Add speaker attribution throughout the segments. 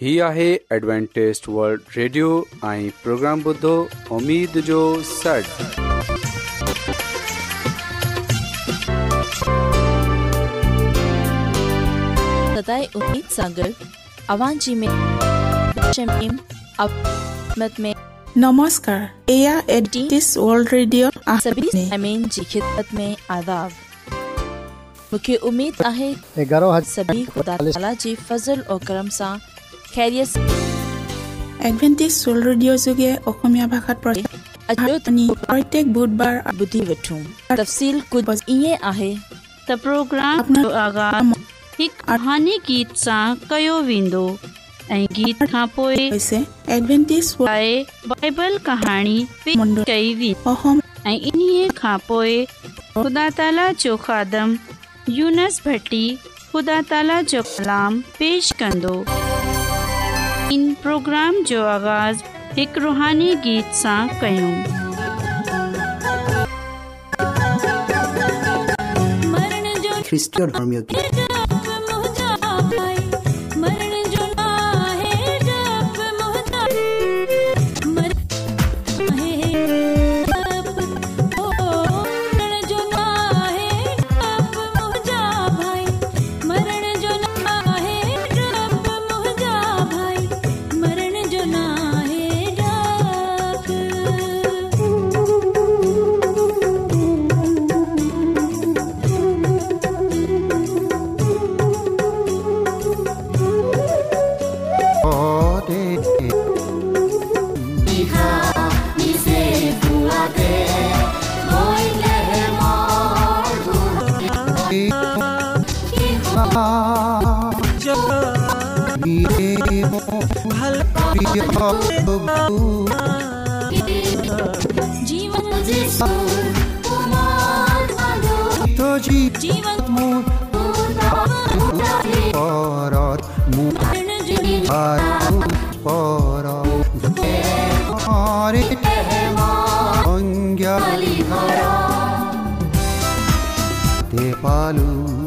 Speaker 1: ہی آہے ایڈوانٹسٹ world ریڈیو ऐं programme ॿुधो उम्मीद जो सॾु
Speaker 2: सदाए उम्मीद सागर अवां जी में शमीम अब मत में
Speaker 3: নমস্কাৰ এয়া এডভেণ্টিছ ৱৰ্ল্ড ৰেডিঅ'
Speaker 2: सभी अमीन जी खिदमत में आदाब मुख्य उम्मीद आहे
Speaker 4: एगारह
Speaker 2: सभी खुदा ताला जी फजल और करम सा खैरियत से
Speaker 3: এডভেণ্টিছ ৱৰ্ল্ড ৰেডিঅ' যোগে অসমীয়া ভাষাত
Speaker 2: अजो
Speaker 3: আপুনি প্ৰত্যেক বুধবাৰ
Speaker 2: बुधी वठूं तफसील कुछ इएं आहे
Speaker 5: त प्रोग्राम जो आगाज़ हिकु रुहानी गीत सां कयो वेंदो ऐं गीत खां पोइ
Speaker 3: হৈছে এডভেণ্টিছ ৱৰ্ল্ড
Speaker 5: लाइ बाइबल कहाणी पेश
Speaker 3: मुंडो।
Speaker 5: कई वेंदी
Speaker 3: অসম
Speaker 5: ऐं इन्हीअ खां पोइ ख़ुदा ताला जो खादम यूनस भट्टी ख़ुदा ताला जो कलाम पेश कंदो इन प्रोग्राम जो आगाज़ हिकु रुहानी गीत सां कयूं
Speaker 4: ख्रिस्टियन धर्मीय गीत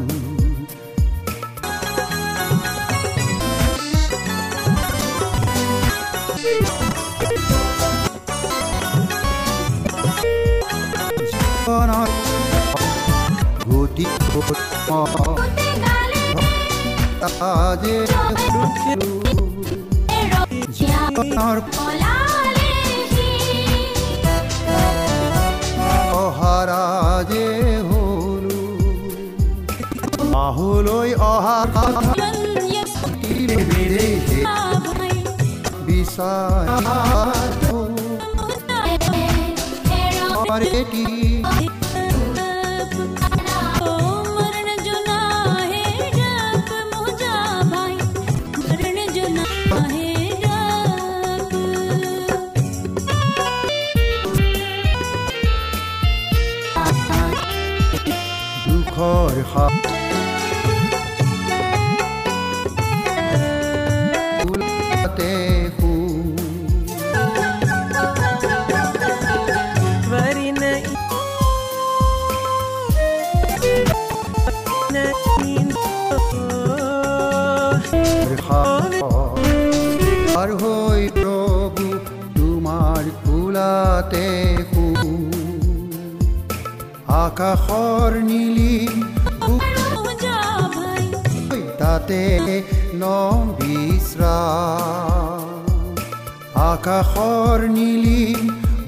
Speaker 6: पालू गोटी आजे और অহারাজে হলু আহুলই অহারে বিদেশে বিষয় কি দুখৰ হাত ফুলতে সু আর হই প্ৰভু তোমাৰ কুলাতে হু আকাশৰ নীলি তাতে নম বিশ্ৰা আকাশৰ নীলি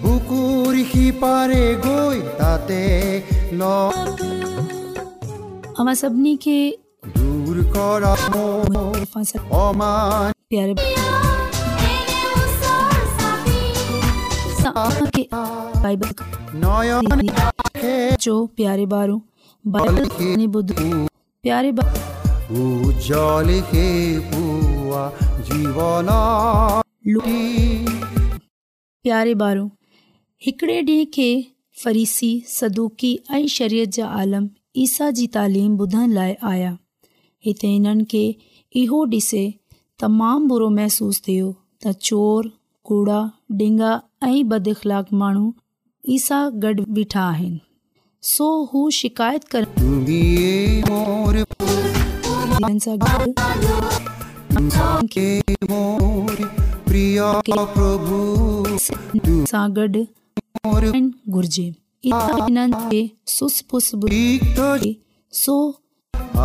Speaker 6: বুকুৰ সিপাৰে গৈ তাতে নম
Speaker 7: अवां सभिनी खे
Speaker 6: দূৰ কৰা মোৰ
Speaker 7: तव्हां सां
Speaker 6: অমান
Speaker 7: प्यारे असां खे बाइबल
Speaker 6: নয়ন
Speaker 7: जो प्यारे ॿारो बाइबल कहाणी ॿुधो प्यारे ॿार
Speaker 6: উজ্জ্বল হে পুৱা জীৱন
Speaker 7: लो- प्यारे ॿारो हिकिड़े ॾींहं खे फरीसी सदूकी ऐं शरीयत जा आलम ईसा जी तालीम ॿुधण लाइ आया हिते हिननि खे इहो ॾिसे तमामु बुरो महसूसु थियो त चोर कूड़ा डिंगा ऐं बदख़लाक माण्हू ईसा गॾु बीठा आहिनि सो हू शिकायत करण
Speaker 6: তুমিয়ে মোৰ
Speaker 7: हिननि सां गॾु
Speaker 6: के मोर प्रिय प्रभु
Speaker 7: सां गॾु
Speaker 6: मोर
Speaker 7: करणु घुर्जे इन्हनि खे सुस पुस बुधी
Speaker 6: तीर्थ
Speaker 7: सो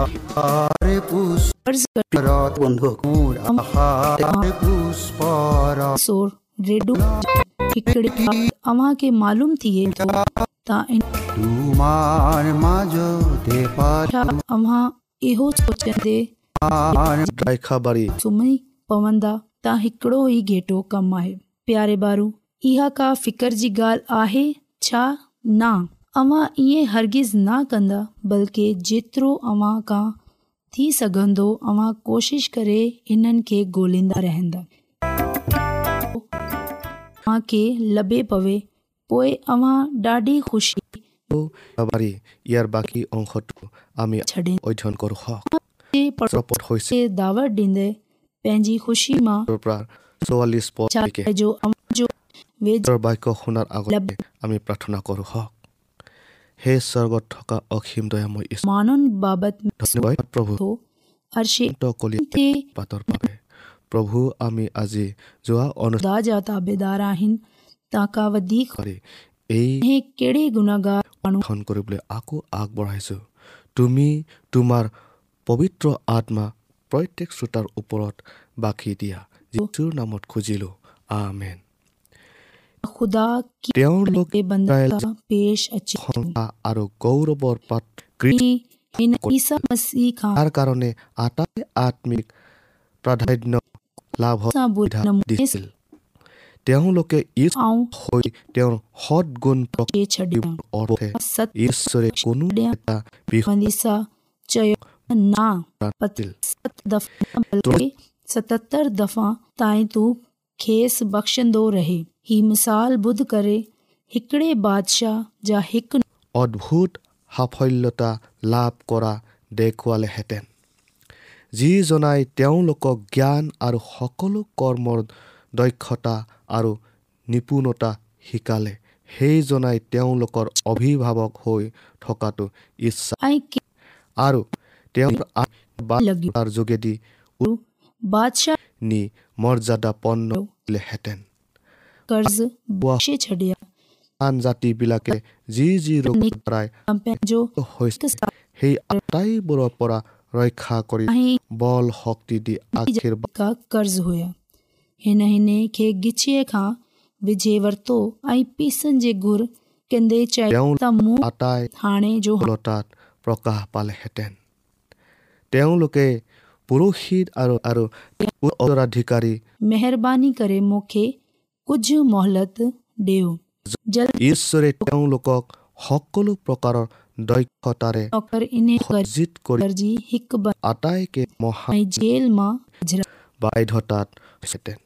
Speaker 6: आहार पुष्प
Speaker 7: अर्ज़ कर
Speaker 6: बंधु मोर आहार पुष्प
Speaker 7: सोर रेडो हिकिड़े वक़्तु अव्हां खे मालूम थिए थो त इन
Speaker 6: तुमार माजो दे पार
Speaker 7: छा अव्हां इहो सोचंदे
Speaker 8: ख़ाबारी
Speaker 7: सुम्ही पवंदा त हिकिड़ो ई घेटो कमु आहे प्यारे ॿारु इहा का फ़िकर जी ॻाल्हि आहे छा न अव्हां ईअं हरगिज़ न कंदा बल्कि जेतिरो अव्हां खां थी सघंदो अव्हां कोशिश करे इन्हनि खे ॻोल्हींदा रहंदा अव्हां खे लभे पवे पोइ अव्हां ॾाढी ख़ुशी
Speaker 8: ख़ाबारी ইয়াৰ বাকী অংশটো আমি
Speaker 7: छॾे
Speaker 8: অধ্যয়ন কৰোঁ হওক
Speaker 7: जे पढ़-
Speaker 8: চপত হৈছে
Speaker 7: खे दावत ॾींदे पंहिंजी ख़ुशी मां
Speaker 8: পৰা চৌৱাল্লিছ পদলৈকে
Speaker 7: चाहे जो अव्हां जो वेझ
Speaker 8: ঈশ্বৰৰ বাক্য শুনাৰ আগতে আমি প্ৰাৰ্থনা কৰোঁ হওক সেই স্বৰ্গত থকা অসীম দয়াময় ঈশ্বৰ
Speaker 7: माण्हुनि बाबति
Speaker 8: ধন্যবাদ প্ৰভু
Speaker 7: थो अर्शे
Speaker 8: অনন্ত কলিয়া
Speaker 7: थे
Speaker 8: পাতৰ বাবে প্ৰভু আমি আজি যোৱা অনুষ্ঠান
Speaker 7: ख़ुदा जा ताबेदार आहिनि तव्हांखां वधीक
Speaker 8: কৰি এই
Speaker 7: हे कहिड़े गुनाहगार माण्हू
Speaker 8: ধন কৰিবলৈ আকৌ আগবঢ়াইছোঁ তুমি তোমাৰ পবিত্ৰ আত্মা প্ৰত্যেক শ্ৰোতাৰ ওপৰত বাকী দিয়া যিটোৰ নামত খুজিলোঁ আমেন
Speaker 7: ख़ुदा खे
Speaker 8: তেওঁলোক
Speaker 7: बंदा
Speaker 8: इस्राएल
Speaker 7: सां पेश अचे थो।
Speaker 8: প্ৰশংসা আৰু গৌৰৱৰ পাত্ৰ কৃত
Speaker 7: हे- हिन ईसा मसीह खां
Speaker 8: তাৰ কাৰণে আটাই আত্মিক প্ৰাধান্য লাভৰ
Speaker 7: सां बुरे
Speaker 8: সুবিধা
Speaker 7: नमूने
Speaker 8: দিছিল তেওঁলোকে ঈশ্বৰ
Speaker 7: ऐं
Speaker 8: হৈ তেওঁৰ সৎ গুণ প্ৰকাশ
Speaker 7: खे छॾियां
Speaker 8: অৰ্থে
Speaker 7: सत
Speaker 8: ঈশ্বৰে কোনো এটা বিষয়
Speaker 7: बंदी सां चयो न
Speaker 8: নাছিল।
Speaker 7: सत दफ़ा बल्कि सतहतरि दफ़ा ताईं तूं खेसि बख़्शंदो रहे ही मिसाल ॿुध करे हिकिड़े बादशाह जा हिकु
Speaker 8: অদ্ভুত সাফল্যতা লাভ কৰা দেখুৱালেহেঁতেন যিজনাই তেওঁলোকক জ্ঞান আৰু সকলো কৰ্মৰ দক্ষতা আৰু নিপুণতা শিকালে সেইজনাই তেওঁলোকৰ অভিভাৱক হৈ থকাটো ইচ্ছা
Speaker 7: ऐं के-
Speaker 8: আৰু তেওঁৰ বাৰ্তাৰ যোগেদি
Speaker 7: बादशाह
Speaker 8: নি মৰ্যাদাপন্ন হ'লেহেঁতেন
Speaker 7: कर्ज़ बख़्शे छॾिया
Speaker 8: আন জাতিবিলাকে যি যি ৰোগৰ দ্বাৰাই
Speaker 7: पंहिंजो
Speaker 8: হৈছে সেই আটাইবোৰৰ পৰা ৰক্ষা কৰি
Speaker 7: ऐं
Speaker 8: বল শক্তি দি আশীৰ্বাদ
Speaker 7: का कर्ज़ हुया हिन हिन खे गिछीअ खां विझे वरितो ऐं पीसनि जे घुर कंदे चयो त मूं
Speaker 8: আটাই
Speaker 7: हाणे जो
Speaker 8: সফলতাত প্ৰকাশ পালেহেঁতেন তেওঁলোকে পুৰোহিত আৰু আৰু উত্তৰাধিকাৰী
Speaker 7: महिरबानी करे मूंखे कुझु मोहलत ॾियो जल्द
Speaker 8: ঈশ্বৰে তেওঁলোকক সকলো প্ৰকাৰৰ দক্ষতাৰে
Speaker 7: नौकर इन कर्ज़
Speaker 8: সজ্জিত কৰি
Speaker 7: जी हिकु ब-
Speaker 8: আটাইকে মহান
Speaker 7: ऐं जेल मां झिरा
Speaker 8: বাধ্যতাত হৈছেতেন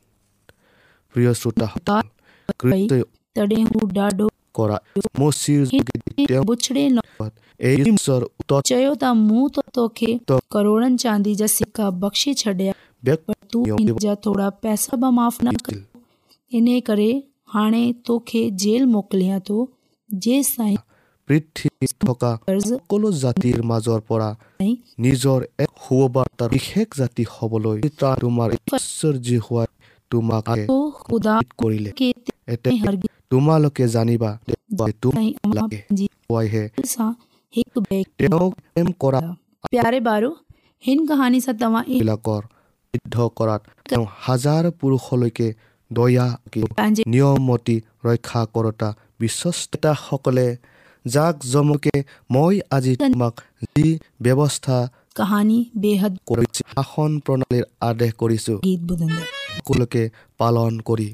Speaker 8: প্ৰিয় শ্ৰোতাসকল
Speaker 7: पई
Speaker 8: কৃতই
Speaker 7: तॾहिं हू ॾाढो
Speaker 8: কৰা মচিৰ যোগেদি তেওঁ
Speaker 7: बुछड़े न
Speaker 8: এই ঈশ্বৰ উত্তৰ
Speaker 7: चयो त मूं त तोखे
Speaker 8: त-
Speaker 7: करोड़नि चांदी जा सिका बख़्शे छॾिया
Speaker 8: ব্যক্তি
Speaker 7: पर तूं
Speaker 8: इहो-
Speaker 7: जा थोरा पैसा बि माफ़ न कर
Speaker 8: দিছিল।
Speaker 7: इन करे हाणे तोखे जेल मोकिलियां थो जेसि ताईं
Speaker 8: পৃথিৱীত থকা
Speaker 7: कर्ज़
Speaker 8: সকলো জাতিৰ মাজৰ পৰা
Speaker 7: ऐं
Speaker 8: নিজৰ এক সুবাৰ্তাৰ বিশেষ জাতি হ'বলৈ তাৰ তোমাৰ ঈশ্বৰ যি হোৱা তোমাক আগে
Speaker 7: तो ख़ुदा
Speaker 8: কৰিলে
Speaker 7: खे
Speaker 8: এতিয়া
Speaker 7: तंहिं हरगिज़
Speaker 8: তোমালোকে জানিবা যে
Speaker 7: ताईं अमां
Speaker 8: তোমালোকে
Speaker 7: पंहिंजी
Speaker 8: হোৱাইহে
Speaker 7: दिलि सां हिकु ॿिए खे
Speaker 8: তেওঁক প্ৰেম কৰা
Speaker 7: प्यारे ॿारो हिन कहाणी सां तव्हां इहो
Speaker 8: বিলাকৰ সিদ্ধ কৰাত তেওঁ হাজাৰ পুৰুষলৈকে দয়া
Speaker 7: पंहिंजे
Speaker 8: নিয়মমতি ৰক্ষা কৰোতা বিশ্বস্ততাসকলে যাক জমকে মই আজি তোমাক যি ব্যৱস্থা
Speaker 7: कहानी बेहद
Speaker 8: কৰিছো শাসন প্ৰণালীৰ আদেশ কৰিছোঁ
Speaker 7: गीत ॿुधंदा
Speaker 8: সকলোকে পালন কৰি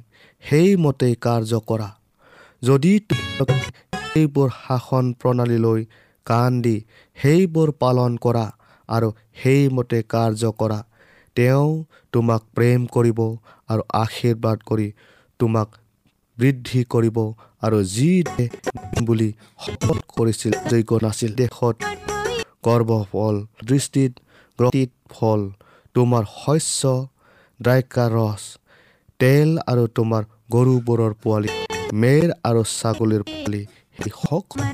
Speaker 8: সেইমতে কাৰ্য কৰা যদি তোমালোকে সেইবোৰ শাসন প্ৰণালীলৈ কাণ দি সেইবোৰ পালন কৰা আৰু সেইমতে কাৰ্য কৰা তেওঁ তোমাক প্ৰেম কৰিব আৰু আশীৰ্বাদ কৰি তোমাক বৃদ্ধি কৰিব আৰু যি দেশ দিম বুলি শপত কৰিছিল যোগ্য নাছিল দেশত গৰ্ব ফল দৃষ্টিত গ্ৰহিত ফল তোমাৰ শস্য দ্ৰাক্ষা ৰস তেল আৰু তোমাৰ গৰুবোৰৰ পোৱালি মেৰ আৰু ছাগলীৰ পোৱালি সেই সকলো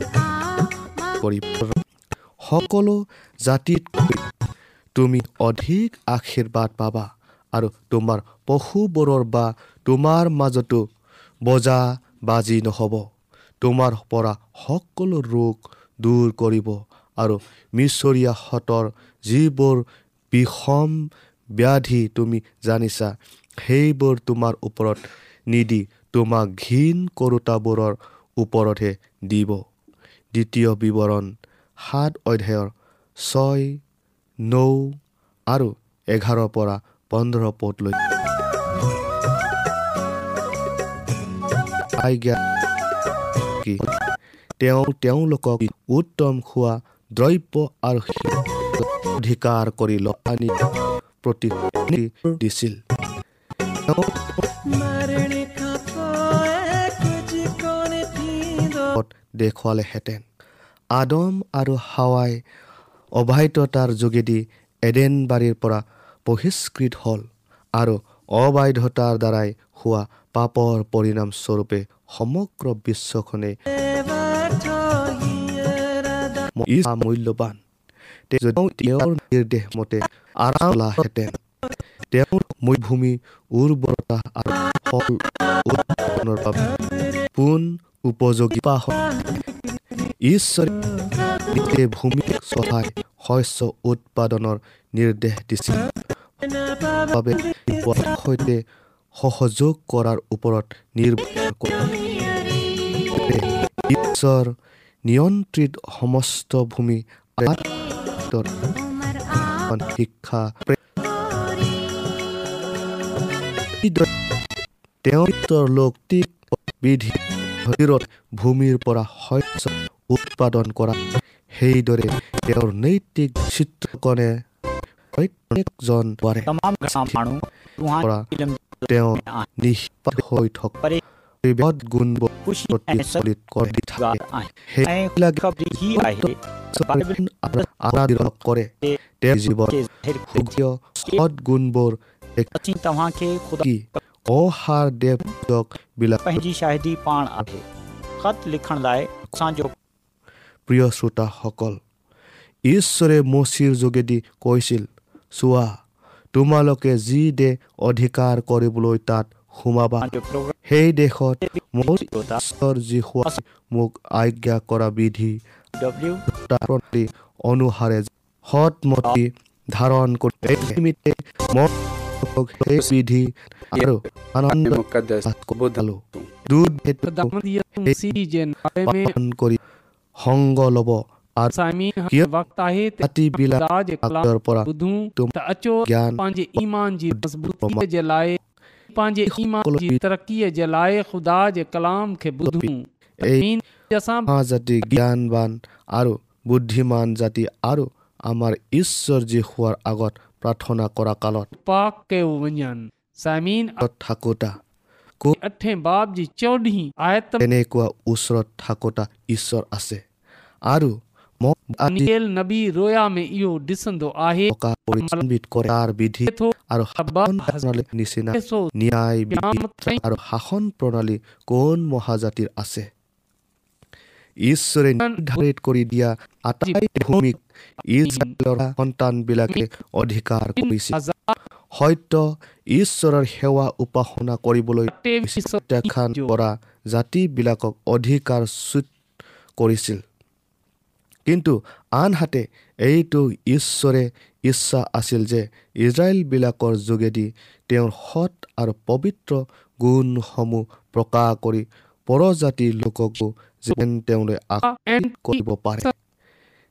Speaker 8: কৰিব। সকলো জাতিত তুমি অধিক আশীৰ্বাদ পাবা আৰু তোমাৰ পশুবোৰৰ বা তোমাৰ মাজতো বজা বাজি নহ'ব তোমাৰ পৰা সকলো ৰোগ দূৰ কৰিব আৰু মিছৰীয়াহঁতৰ যিবোৰ বিষম ব্যাধি তুমি জানিছা সেইবোৰ তোমাৰ ওপৰত নিদি তোমাক ঘীন কৰোতাবোৰৰ ওপৰতহে দিব দ্বিতীয় বিৱৰণ সাত অধ্যায়ৰ ছয় নৌ আৰু এঘাৰৰ পৰা পোন্ধৰ পদলৈ আজ্ঞা কি তেওঁ তেওঁলোকক উত্তম খোৱা দ্ৰব্য আৰু অধিকাৰ কৰি লপানি প্ৰতি দিছিল দেখুৱালেহেঁতেন আদম আৰু হাৱাই অবাধ্যতাৰ যোগেদি এডেনবাৰীৰ পৰা বহিষ্কৃত হ'ল আৰু অবাধ্যতাৰ দ্বাৰাই হোৱা পাপৰ পৰিণামস্বৰূপে সমগ্ৰ বিশ্বখনে মূল্যৱান তেওঁৰ নিৰ্দেশ মতে আৰাম লাহেঁতেন তেওঁৰ মৰুভূমি উৰ্বৰতা আৰু ফল উৎপাদনৰ বাবে পোন উপযোগী পাহ ঈশ্বৰে নিজে ভূমিক চহাই শস্য উৎপাদনৰ নিৰ্দেশ দিছিল বাবে পোৱাৰ সৈতে সহযোগ কৰাৰ ওপৰত নিৰ্ভৰ কৰে ঈশ্বৰ নিয়ন্ত্ৰিত সমস্ত ভূমি শিক্ষা তেওঁৰ লৌকিক বিধি ভূমিৰ পৰা শস্য উৎপাদন কৰা সেইদৰে তেওঁৰ নৈতিক চিত্ৰকণে প্ৰত্যেকজন পাৰে পৰা তেওঁ নিষ্পাত হৈ থকা বিবাদ গুণবোৰ প্ৰতিফলিত কৰি থাকে সেইবিলাকে আৰাধিত কৰে তেওঁৰ জীৱন সুকীয় সৎ গুণবোৰ কি অহাৰ দেৱক বিলাক
Speaker 9: शाहिदी पाण आहे ख़त लिखण लाइ असांजो
Speaker 8: প্ৰিয় শ্ৰোতাসকল ঈশ্বৰে মচিৰ যোগেদি কৈছিল চোৱা তোমালোকে যি দেশ অধিকাৰ কৰিবলৈ তাত সোমাবা সেই দেশত মোৰ ঈশ্বৰ যি হোৱা মোক আজ্ঞা কৰা বিধি
Speaker 9: डब्ल्यू
Speaker 8: প্ৰতি অনুসাৰে সৎমতি ধাৰণ কৰি এই নিমিত্তে মই তোমালোকক সেই বিধি আৰু আনন্দ
Speaker 1: मुक़दस
Speaker 8: কবদালো দূত ভেদ পালন কৰি সংগ ল'ব আৰু कीअं
Speaker 10: वक़्तु आहे त
Speaker 8: ৰাতিবিলাক
Speaker 10: राज
Speaker 8: ৰাতৰ পৰা
Speaker 10: ॿुधूं
Speaker 8: तुम-
Speaker 10: त अचो
Speaker 8: ज्ञान
Speaker 10: पंहिंजे ईमान जी मज़बूतीअ
Speaker 8: तुम-
Speaker 10: जे लाइ पंहिंजे ईमान जी
Speaker 8: तुम-
Speaker 10: तरक़ीअ जे लाइ ख़ुदा जे कलाम खे ॿुधूं
Speaker 8: এই
Speaker 10: मीन असां
Speaker 8: মহাজাতি জ্ঞানবান আৰু বুদ্ধিমান জাতি আৰু আমাৰ ঈশ্বৰ যি হোৱাৰ আগত প্ৰাৰ্থনা কৰা কালত
Speaker 10: पाक कयो वञनि साइमीन
Speaker 8: থাকোতা
Speaker 10: अठे बाब जी চोॾहीं आयत में
Speaker 8: তেনেকুৱা ওচৰত থাকোতা ঈশ্বৰ আছে আৰু মই আজি
Speaker 10: दानियल नबी रोया में इहो ॾिसंदो आहे
Speaker 8: থকা পৰিচম্বিত কৰে তাৰ বিধি
Speaker 10: थो
Speaker 8: আৰু শাসন প্ৰণালী নিচিনা
Speaker 10: ॾिसो
Speaker 8: ন্যায় বিধি আৰু শাসন প্ৰণালী কোন মহাজাতিৰ আছে ঈশ্বৰে নিৰ্ধাৰিত কৰি দিয়া আটাই ভূমিক ইজৰাইলৰ সন্তানবিলাকে অধিকাৰ কৰিছিল
Speaker 10: हज़ार
Speaker 8: সত্য ঈশ্বৰৰ সেৱা উপাসনা কৰিবলৈ
Speaker 10: टेवीह सौ
Speaker 8: প্ৰত্যাখ্যান কৰা জাতিবিলাকক অধিকাৰ চ্যুত কৰিছিল কিন্তু আনহাতে এইটো ঈশ্বৰে ইচ্ছা আছিল যে ইজৰাইলবিলাকৰ যোগেদি তেওঁৰ সৎ আৰু পবিত্ৰ গুণসমূহ প্ৰকাশ কৰি পৰজাতি লোককো যেন তেওঁলৈ আকৰ্ষিত কৰিব পাৰে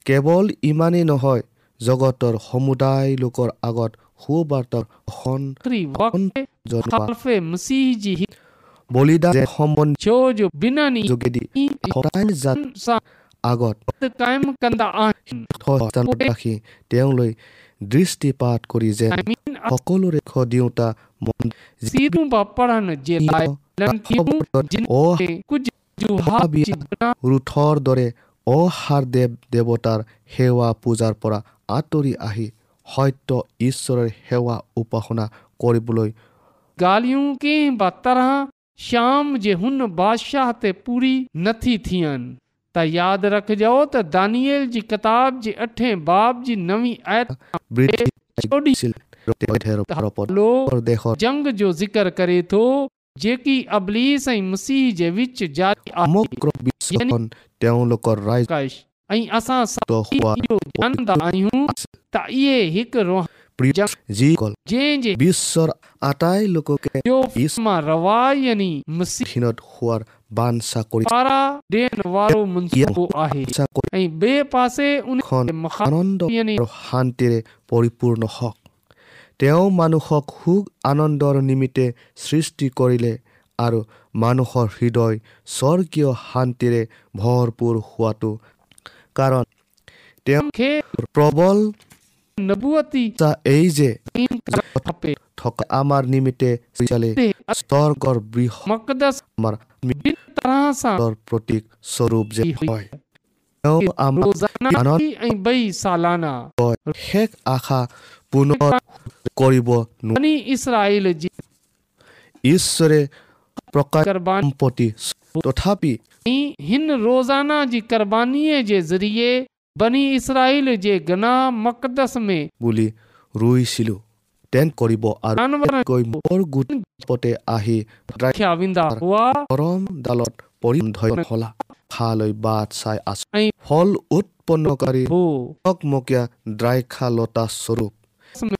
Speaker 8: কেৱল ইমানেই নহয় জগতৰ সমুদায় লোকৰ আগত সুবাৰ্তাৰ সন
Speaker 10: आख़िरी वक़्त
Speaker 8: জনোৱা
Speaker 10: ख़ालफ़े मसीह जी हिक
Speaker 8: বলিদান সম্বন্ধীয়
Speaker 10: छो जो ॿिन्हिनि
Speaker 8: যোগেদি
Speaker 10: ई
Speaker 8: সদায় জাত
Speaker 10: हुननि सां
Speaker 8: আগত
Speaker 10: قائم कंदा आहिनि
Speaker 8: সস্থানত ৰাখি তেওঁলৈ দৃষ্টিপাত কৰি যেন
Speaker 10: আমিন
Speaker 8: সকলোৰে খ দিওঁতা মন
Speaker 10: सीरूं बि पढ़ण जे लाइ मिलनि थियूं, जिन खे कुझु जुहाब जी गुनाह
Speaker 8: ৰুথৰ দৰে অসাৰ দেৱ দেৱতাৰ সেৱা পূজাৰ পৰা আঁতৰি আহি সত্য ঈশ্বৰৰ সেৱা উপাসনা কৰিবলৈ
Speaker 10: ॻाल्हियूं कंहिं बि तरह शाम जे हुन बादशाह ते पूरी नथी थियनि त यादि रखजो त दानियल जी किताब जे अठें बाब जी नवी आयत
Speaker 8: বৃদ্ধি
Speaker 10: चोॾहीं
Speaker 8: হৈছিল
Speaker 10: लो
Speaker 8: देखो
Speaker 10: जंग जो ज़िक्र करे थो जेकी अबलीस ऐं मसीह जे विच जारी आहे
Speaker 8: বিশ্বখন তেওঁলোকৰ ৰাইজ
Speaker 10: ऐं असां सभु इहो ॼाणंदा आहियूं त इहे हिकु
Speaker 8: প্ৰিয় যিসকল
Speaker 10: जंहिंजे
Speaker 8: বিশ্বৰ আটাই লোককে
Speaker 10: जो मां रवायनी मसीह
Speaker 8: হীনত হোৱাৰ বাঞ্ছা কৰি
Speaker 10: पारां ॾियण वारो मनसूबो आहे
Speaker 8: বাঞ্ছা কৰি
Speaker 10: ऐं ॿिए पासे उन
Speaker 8: খন আনন্দ
Speaker 10: यानी
Speaker 8: আৰু শান্তিৰে পৰিপূৰ্ণ হওক তেওঁ মানুহক সুখ আনন্দৰ নিমিত্তে সৃষ্টি কৰিলে আৰু মানুহৰ হৃদয় স্বৰ্গীয় শান্তিৰে ভৰপূৰ হোৱাটো কাৰণ তেওঁ
Speaker 10: खे
Speaker 8: প্ৰবল
Speaker 10: नबूअती
Speaker 8: ইচ্ছা এই যে
Speaker 10: टीम करणु खपे
Speaker 8: থকা আমাৰ নিমিত্তে চালে
Speaker 10: ते
Speaker 8: স্বৰ্গৰ বৃহৎ
Speaker 10: मक़दस
Speaker 8: আমাৰ
Speaker 10: ॿी तरह सां
Speaker 8: মৃত্যুৰ প্ৰতীক স্বৰূপ যে
Speaker 10: थी हुई।
Speaker 8: হয় তেওঁ আমাৰ
Speaker 10: रोज़ाना
Speaker 8: আনন্দ
Speaker 10: ऐं ॿई सालाना
Speaker 8: শেষ আশা পুনৰ কৰিব নোৱাৰে
Speaker 10: यानी इसराइल जी
Speaker 8: ঈশ্বৰে প্ৰকাশ
Speaker 10: क़ुर्बानी
Speaker 8: সম্পত্তি তথাপি
Speaker 10: हिन रोज़ाना जी क़ुर्बानीअ जे ज़रिए बनी इसराइल जे गनाह मक़दस में
Speaker 8: বুলি ৰুইছিলোঁ তেন কৰিব আৰু
Speaker 10: जानवरनि
Speaker 8: কৈ মোৰ গোটপতে আহি
Speaker 10: रखिया वेंदा हुआ
Speaker 8: গৰম ডালত পৰি ধৰি হলা খালৈ বাট চাই আছে
Speaker 10: ऐं
Speaker 8: ফল উৎপন্নকাৰী
Speaker 10: हो
Speaker 8: টকমকীয়া দ্ৰাক্ষালতা স্বৰূপ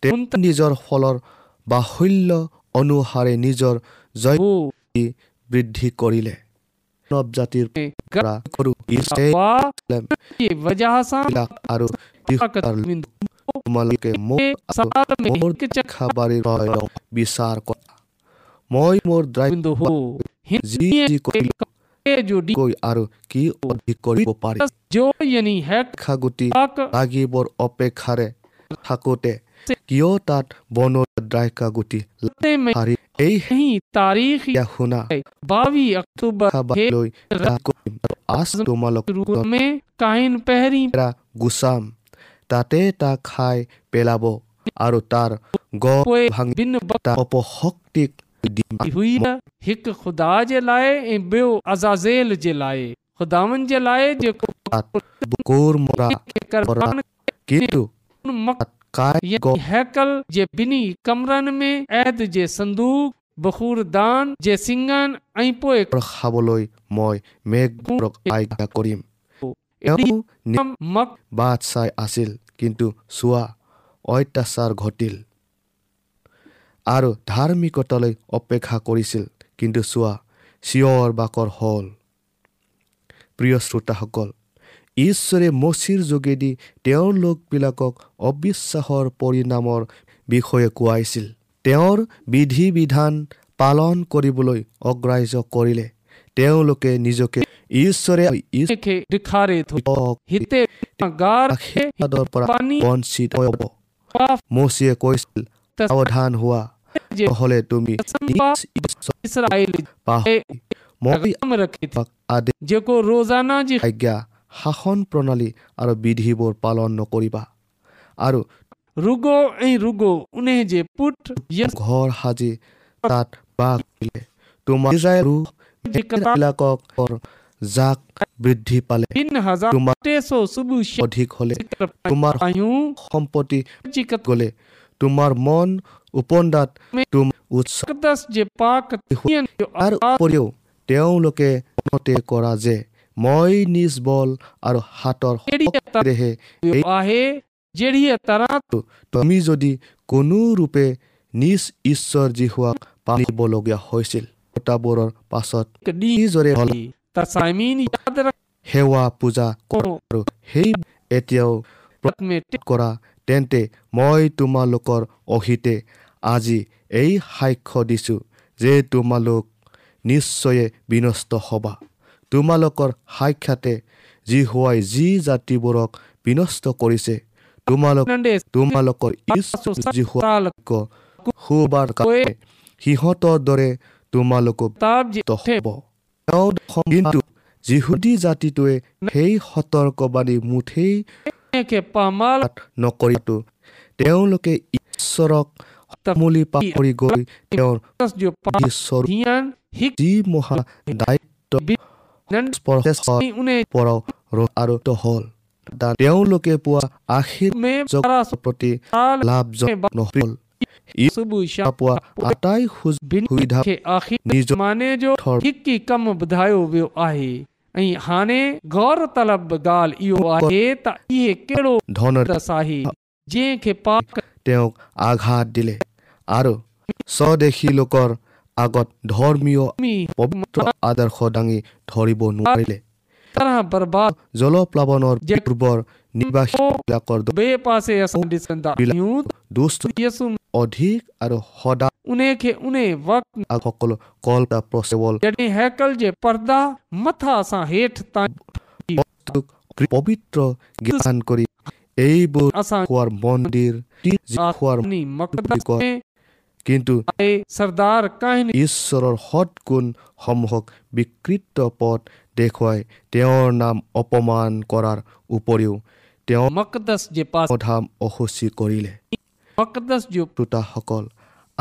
Speaker 8: তেওঁ
Speaker 10: हुन त
Speaker 8: নিজৰ ফলৰ বাহুল্য অনুসাৰে নিজৰ জয়
Speaker 10: हो
Speaker 8: বৃদ্ধি কৰিলে মানৱ জাতিৰ পৰা সৰু ইছৰাইল
Speaker 10: हुआ जे वजह सां
Speaker 8: আৰু
Speaker 10: ताक़त
Speaker 8: দিশৰ
Speaker 10: वेंदो
Speaker 8: তোমালোকে মোক
Speaker 10: ऐं
Speaker 8: আৰু
Speaker 10: साल में
Speaker 8: মোৰ
Speaker 10: हिकु चकर
Speaker 8: খাবাৰী ৰয়ক বিচাৰ কৰা মই মোৰ দ্ৰাক্ষকৈ
Speaker 10: वेंदो हो हिन
Speaker 8: যি যি কৰিলো।
Speaker 10: ॾींहं जो ॾींहुं
Speaker 8: আৰু কি অধিক কৰিব পাৰি
Speaker 10: जो यानी हैक
Speaker 8: খাগুটি
Speaker 10: पाक
Speaker 8: লাগিবৰ অপেক্ষাৰে থাকোঁতে কিয় তাত বনৰ দ্ৰাক্ষা গুটি
Speaker 10: हफ़्ते में
Speaker 8: হাৰি এই
Speaker 10: ही तारीख़
Speaker 8: সেয়া শুনা
Speaker 10: ॿावीह अक्टूबर खे
Speaker 8: খাবাৰলৈ ৰাতি কৰিম আৰু আজ তোমালোক
Speaker 10: रूप में काइन पहिरीं
Speaker 8: এৰা গুচাম তাতে তাক খাই পেলাব আৰু তাৰ গড়
Speaker 10: पोइ
Speaker 8: ভাঙি
Speaker 10: ॿिनि
Speaker 8: তাৰ অপশক্তিক দিম
Speaker 10: वक़्त हुई हिकु ख़ुदा जे लाइ
Speaker 8: e
Speaker 10: ऐं ॿियो अज़ाज़ेल जे लाइ ख़ुदावनि जे लाइ जेको
Speaker 8: বুকুৰ মৰা
Speaker 10: क़ुर्बान
Speaker 8: কিন্তু
Speaker 10: मक-
Speaker 8: তাত কাই
Speaker 10: यानी
Speaker 8: গড়
Speaker 10: हैकल जे ॿिन्ही कमरनि में ऐद जे संदूक बखूरदान जे सिङनि ऐं पोइ
Speaker 8: খাবলৈ মই মেঘবোৰক আজ্ঞা কৰিম
Speaker 10: एॾी
Speaker 8: তেওঁ নি-
Speaker 10: कम मक
Speaker 8: বাট চাই আছিল কিন্তু চোৱা অত্যাচাৰ ঘটিল আৰু ধাৰ্মিকতালৈ অপেক্ষা কৰিছিল কিন্তু চোৱা চিঞৰ বাকৰ হ'ল প্ৰিয় শ্ৰোতাসকল ঈশ্বৰে মচিৰ যোগেদি তেওঁৰ লোকবিলাকক অবিশ্বাসৰ পৰিণামৰ বিষয়ে কোৱাইছিল তেওঁৰ বিধি বিধান পালন কৰিবলৈ অগ্ৰাহ্য কৰিলে তেওঁলোকে নিজকে ঈশ্বৰে
Speaker 10: खे ॾेखारे थो हिते गार खे
Speaker 8: আশীৰ্বাদৰ পৰা
Speaker 10: পানী
Speaker 8: বঞ্চিত হ'ব
Speaker 10: পাপ
Speaker 8: মচিয়ে কৈছিল
Speaker 10: त-
Speaker 8: সাৱধান হোৱা
Speaker 10: जे
Speaker 8: নহ'লে তুমি নিজ ঈশ্বৰ
Speaker 10: इसराइल
Speaker 8: পাহৰি মই
Speaker 10: पैगाम रखे थी
Speaker 8: তোমাক আদেশ
Speaker 10: जेको रोज़ाना जी
Speaker 8: আজ্ঞা শাসন প্ৰণালী আৰু বিধিবোৰ পালন নকৰিবা আৰু
Speaker 10: रुगो ऐं रुगो उन जे पुट यस
Speaker 8: ঘৰ সাজি তাত বাস কৰিলে তোমাৰ ইজৰাইলবিলাকক জাক বৃদ্ধি পালে
Speaker 10: ॿिनि हज़ार
Speaker 8: তোমাৰ
Speaker 10: टे सौ सुबुह शा-
Speaker 8: অধিক হ'লে
Speaker 10: ज़िक्र पाईंदा
Speaker 8: তোমাৰ
Speaker 10: आहियूं
Speaker 8: সম্পত্তি
Speaker 10: जी कत-
Speaker 8: গ'লে তোমাৰ মন উপন্দাত তোমাৰ উৎস
Speaker 10: मुक़दस जे पाक थियण जो
Speaker 8: তাৰ
Speaker 10: आगाज़
Speaker 8: উপৰিও তেওঁলোকে মতে কৰা যে মই নিজ বল আৰু হাতৰ
Speaker 10: अहिड़ीअ तरह
Speaker 8: শক্তিৰেহে
Speaker 10: थियो आहे जहिड़ीअ तरह
Speaker 8: তুমি যদি কোনোৰূপে নিজ ঈশ্বৰ যি হোৱাক পালিবলগীয়া হৈছিল বটাবোৰৰ পাছত
Speaker 10: हिकु ॾींहुं
Speaker 8: নিজৰে হল
Speaker 10: थी। त साइमीन यादि
Speaker 8: সেৱা পূজা কৰা
Speaker 10: रखो
Speaker 8: আৰু সেই এতিয়াও
Speaker 10: रत में टे
Speaker 8: কৰা তেন্তে মই তোমালোকৰ অহিতে আজি এই সাক্ষ্য দিছোঁ যে তোমালোক নিশ্চয়ে বিনষ্ট হ'বা তোমালোকৰ সাক্ষাতে যি হোৱাই যি জাতিবোৰক বিনষ্ট কৰিছে তোমালোক
Speaker 10: नंढे
Speaker 8: তোমালোকৰ ঈশ্বৰ যি হোৱা
Speaker 10: साल
Speaker 8: শুবাৰ কাৰণে সিহঁতৰ দৰে তোমালোকক
Speaker 10: किताब जे
Speaker 8: মুক্ত হ'ব তেওঁ দেখোন কিন্তু যিহুদী জাতিটোৱে সেই সতৰ্কবাণী মুঠেই
Speaker 10: खे पामाल
Speaker 8: পাঠ নকৰিটো তেওঁলোকে ঈশ্বৰক সমূলি পাহৰি গৈ তেওঁৰ
Speaker 10: मुक़दस जो पाक
Speaker 8: বিশ্বৰূপ
Speaker 10: थियण हिकु
Speaker 8: যি মহা দায়িত্ব
Speaker 10: नंढ
Speaker 8: স্পৰ্শৰ
Speaker 10: ऐं उन
Speaker 8: পৰাও ৰ- আৰোপিত হ'ল তা তেওঁলোকে পোৱা আশীৰ্বাদৰ
Speaker 10: में बारहं सौ
Speaker 8: প্ৰতি
Speaker 10: साल
Speaker 8: লাভজনক নহ'ল
Speaker 10: सुबुह शाम
Speaker 8: पुआ अटाई हुज सुविधा
Speaker 10: खे आख़िर ज़माने जो हिकु ई कमु ॿुधायो वियो आहे ऐं हाणे गौर तलब ॻाल्हि इहो आहे त इहे कहिड़ो
Speaker 8: ধনের
Speaker 10: रस आहे जंहिंखे पाक
Speaker 8: তেওঁক আঘাত দিলে আৰু স্বদেশী লোকৰ আগত ধৰ্মীয় পবিত্ৰ আদৰ্শ দাঙি ধৰিব নোৱাৰিলে
Speaker 10: तरह बर्बाद
Speaker 8: জলপ্লাৱনৰ পূৰ্বৰ নিৰ্বাসীবিলাকৰ
Speaker 10: ॿिए पासे असां ॾिसंदा आहियूं
Speaker 8: দুষ্ট
Speaker 10: यसु
Speaker 8: অধিক আৰু সদা
Speaker 10: उन खे उन वक़्तु
Speaker 8: সকলো কল্পনা প্ৰচেবল
Speaker 10: जॾहिं हैकल जे पर्दा मथां सां हेठि ताईं
Speaker 8: বস্তুক পবিত্ৰ জ্ঞান কৰি এইবোৰ
Speaker 10: असां
Speaker 8: খোৱাৰ মন্দিৰ খোৱাৰ
Speaker 10: आसमानी मक़दस
Speaker 8: কৰ।
Speaker 10: में
Speaker 8: কিন্তু
Speaker 10: आहे सरदार कहनी
Speaker 8: ঈশ্বৰৰ সৎগুণ সমূহক বিকৃত পথ দেখুৱাই তেওঁৰ নাম অপমান কৰাৰ উপৰিও তেওঁ
Speaker 10: मक़दस जे पासे
Speaker 8: ধাম অসুচি কৰিলে
Speaker 10: मक़दस जो
Speaker 8: শ্ৰোতাসকল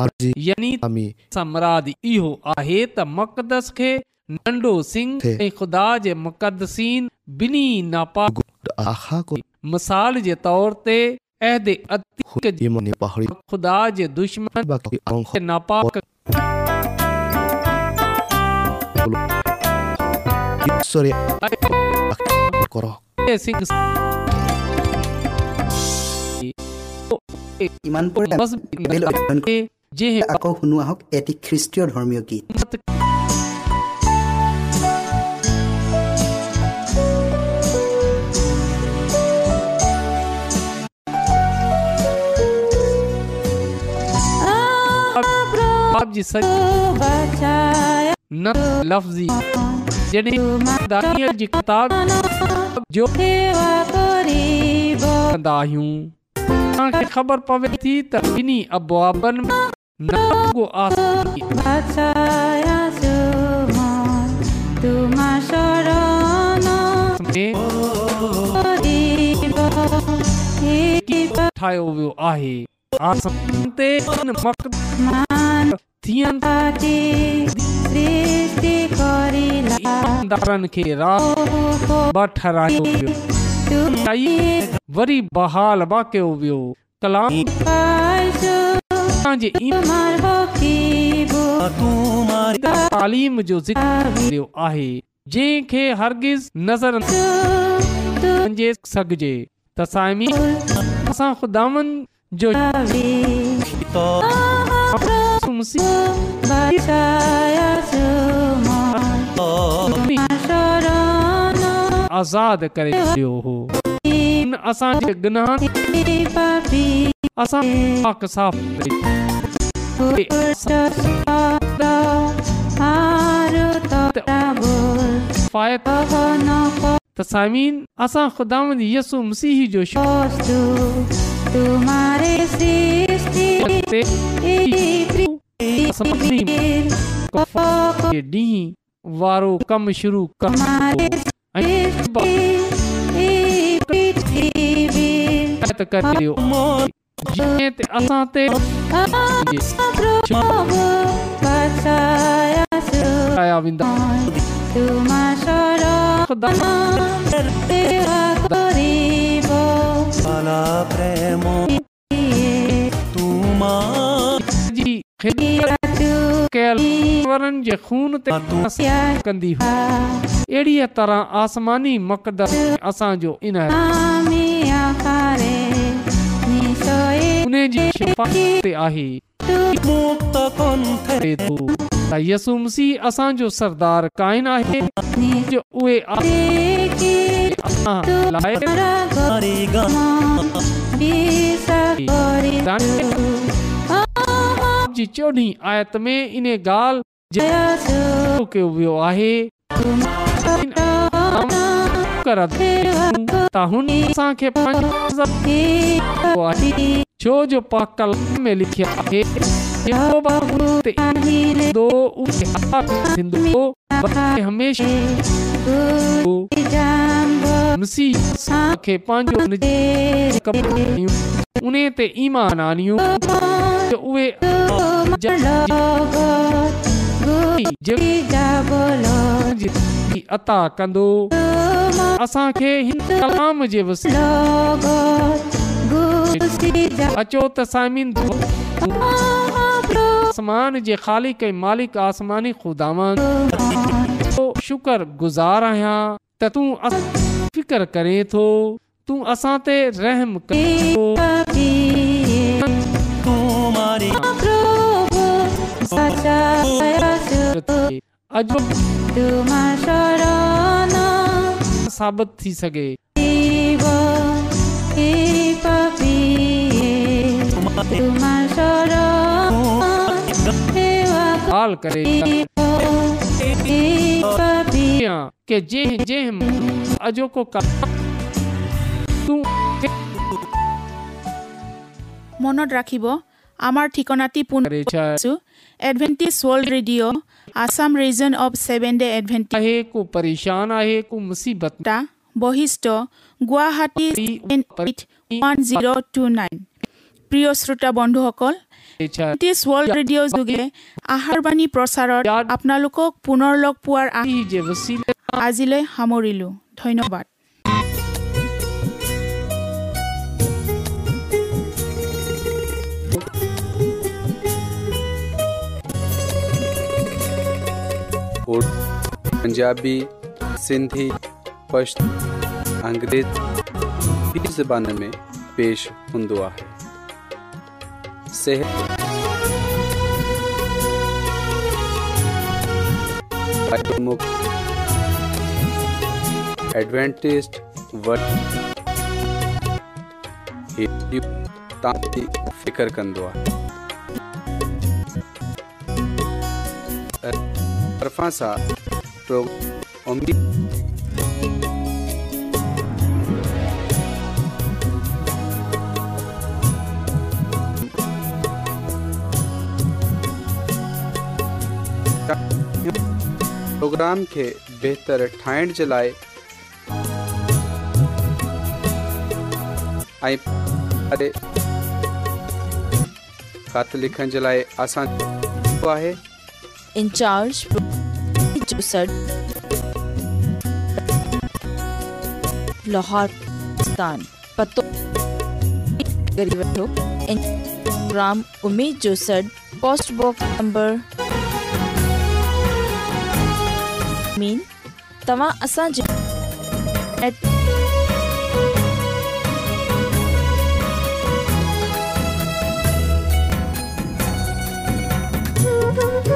Speaker 8: আজি
Speaker 10: यानी
Speaker 8: আমি
Speaker 10: सम्राद इहो आहे त मक़दस खे नंढो सिंह
Speaker 8: थे।
Speaker 10: ऐं ख़ुदा जे मुक़दसीन ॿिन्ही नापाक
Speaker 8: আশা কৰি
Speaker 10: मिसाल जे तौर ते अहदे अतीक जे
Speaker 8: ইমানে পাহৰি
Speaker 10: ख़ुदा जे दुश्मन
Speaker 8: বাকী অংশ
Speaker 10: खे नापाक
Speaker 8: ঈশ্বৰে কৰক
Speaker 10: जे सिंह
Speaker 4: ইমান পৰে
Speaker 10: बस
Speaker 4: বাইবেল অধ্যয়ন কৰি
Speaker 10: खे जंहिं
Speaker 4: আকৌ শুনো আহক এটি খ্ৰীষ্টীয় ধৰ্মীয় গীত
Speaker 10: वक़्त आप जी सच न लफ्जी जॾहिं दानियल जी किताब जो कंदा आहियूं तव्हांखे ख़बर पवे थी त ॿिन्ही अबवाबनि में न रुॻो आसमानी में ठाहियो वियो आहे आसमान ते इन मक़्सद थियनि ईमानदारनि खे राह बा ठहिरायो वियो ऐं वरी बहाल बा कयो वियो कलाम जे तालीम जो ज़िक्र कयो आहे जंहिंखे हरगिज़ नज़र जे सघिजे त साइमी असां ख़ुदावन जो आज़ाद करे छॾियो हो हुन असांजे गुनाह असां पाक साफ़ करे किफ़ायत त साइमीन असां ख़ुदावंद यसु मसीह जो शुक्र ते असमानी कफ़ात जे ॾींहुं वारो कमु शुरू करणो ऐं शिफ़ायत करियो। जीअं ते असां ते आया वेंदा ख़ुदा जी ख़िदमत कयल वरनि जे खून ते असां कंदी हुई। अहिड़ीअ तरह आसमानी मक़दस असांजो इन उन जी शिफ़ाक़त ते आहे करे थो त यसु मसीह असांजो सरदार काइन आहे जो उहे आहे असां लाइ जी चोॾहीं आयत में इन ॻाल्हि जे ज़िक्र कयो वियो आहे त हुन असांखे पंहिंजो ज़ब्तो आहे। छो जो पा कलाम में लिखियो आहे यहोवा ते ईंदो, उहे हक़ थींदो, बल्कि हमेशह थींदो। मसीह खे पंहिंजो निजी कबूल कयूं। उन ते ईमान आणियूं जो उहे जेकी जी अता कंदो असांखे हिन कलाम जे वसीले अचो त साइमिन दुआ आसमान जे ख़ालिक ऐं मालिक आसमानी खुदावन तो शुक्र गुज़ार आहियां त तूं अस- फ़िकर करें थो तूं असां ते रहम करें थो अजो साबित थी सघे हाल करे के जे जे अजो को का तू
Speaker 3: মনত ৰাখিব আমাৰ ঠিকনাটি পুনৰ কৈছোঁ। Adventist world radio' Assam region of seven day Adventist
Speaker 10: आहे को परेशान आहे को मुसीबत
Speaker 3: Basistha Guwahati one zero' two nine প্ৰিয় শ্ৰোতা বন্ধুসকল এডভেণ্টিজ ৱৰ্ল্ড ৰেডিঅ' যোগে আহাৰবাণী প্ৰচাৰত আপোনালোকক পুনৰ লগ পোৱাৰ আশা আজিলৈ সামৰিলোঁ ধন্যবাদ
Speaker 1: उर्दू पंजाबी सिंधी पश्तो अंग्रेजी बि ज़बान में पेश हूंदो आहे सिहत एडवेंटेज फ़िकर कंदो आहे तरफ़ा सां प्रोग्राम तो उम्मीद प्रोग्राम खे बहितर ठाहिण जे लाइ ऐं ख़त लिखण जे लाइ असां आहे
Speaker 7: इंचार्ज जोसर लाहौर पाकिस्तान पतो करी वठो ऐं प्रोग्राम उमेद जो सड पोस्ट बॉक्स नंबर मीन तव्हां असांजे at
Speaker 11: Thank you.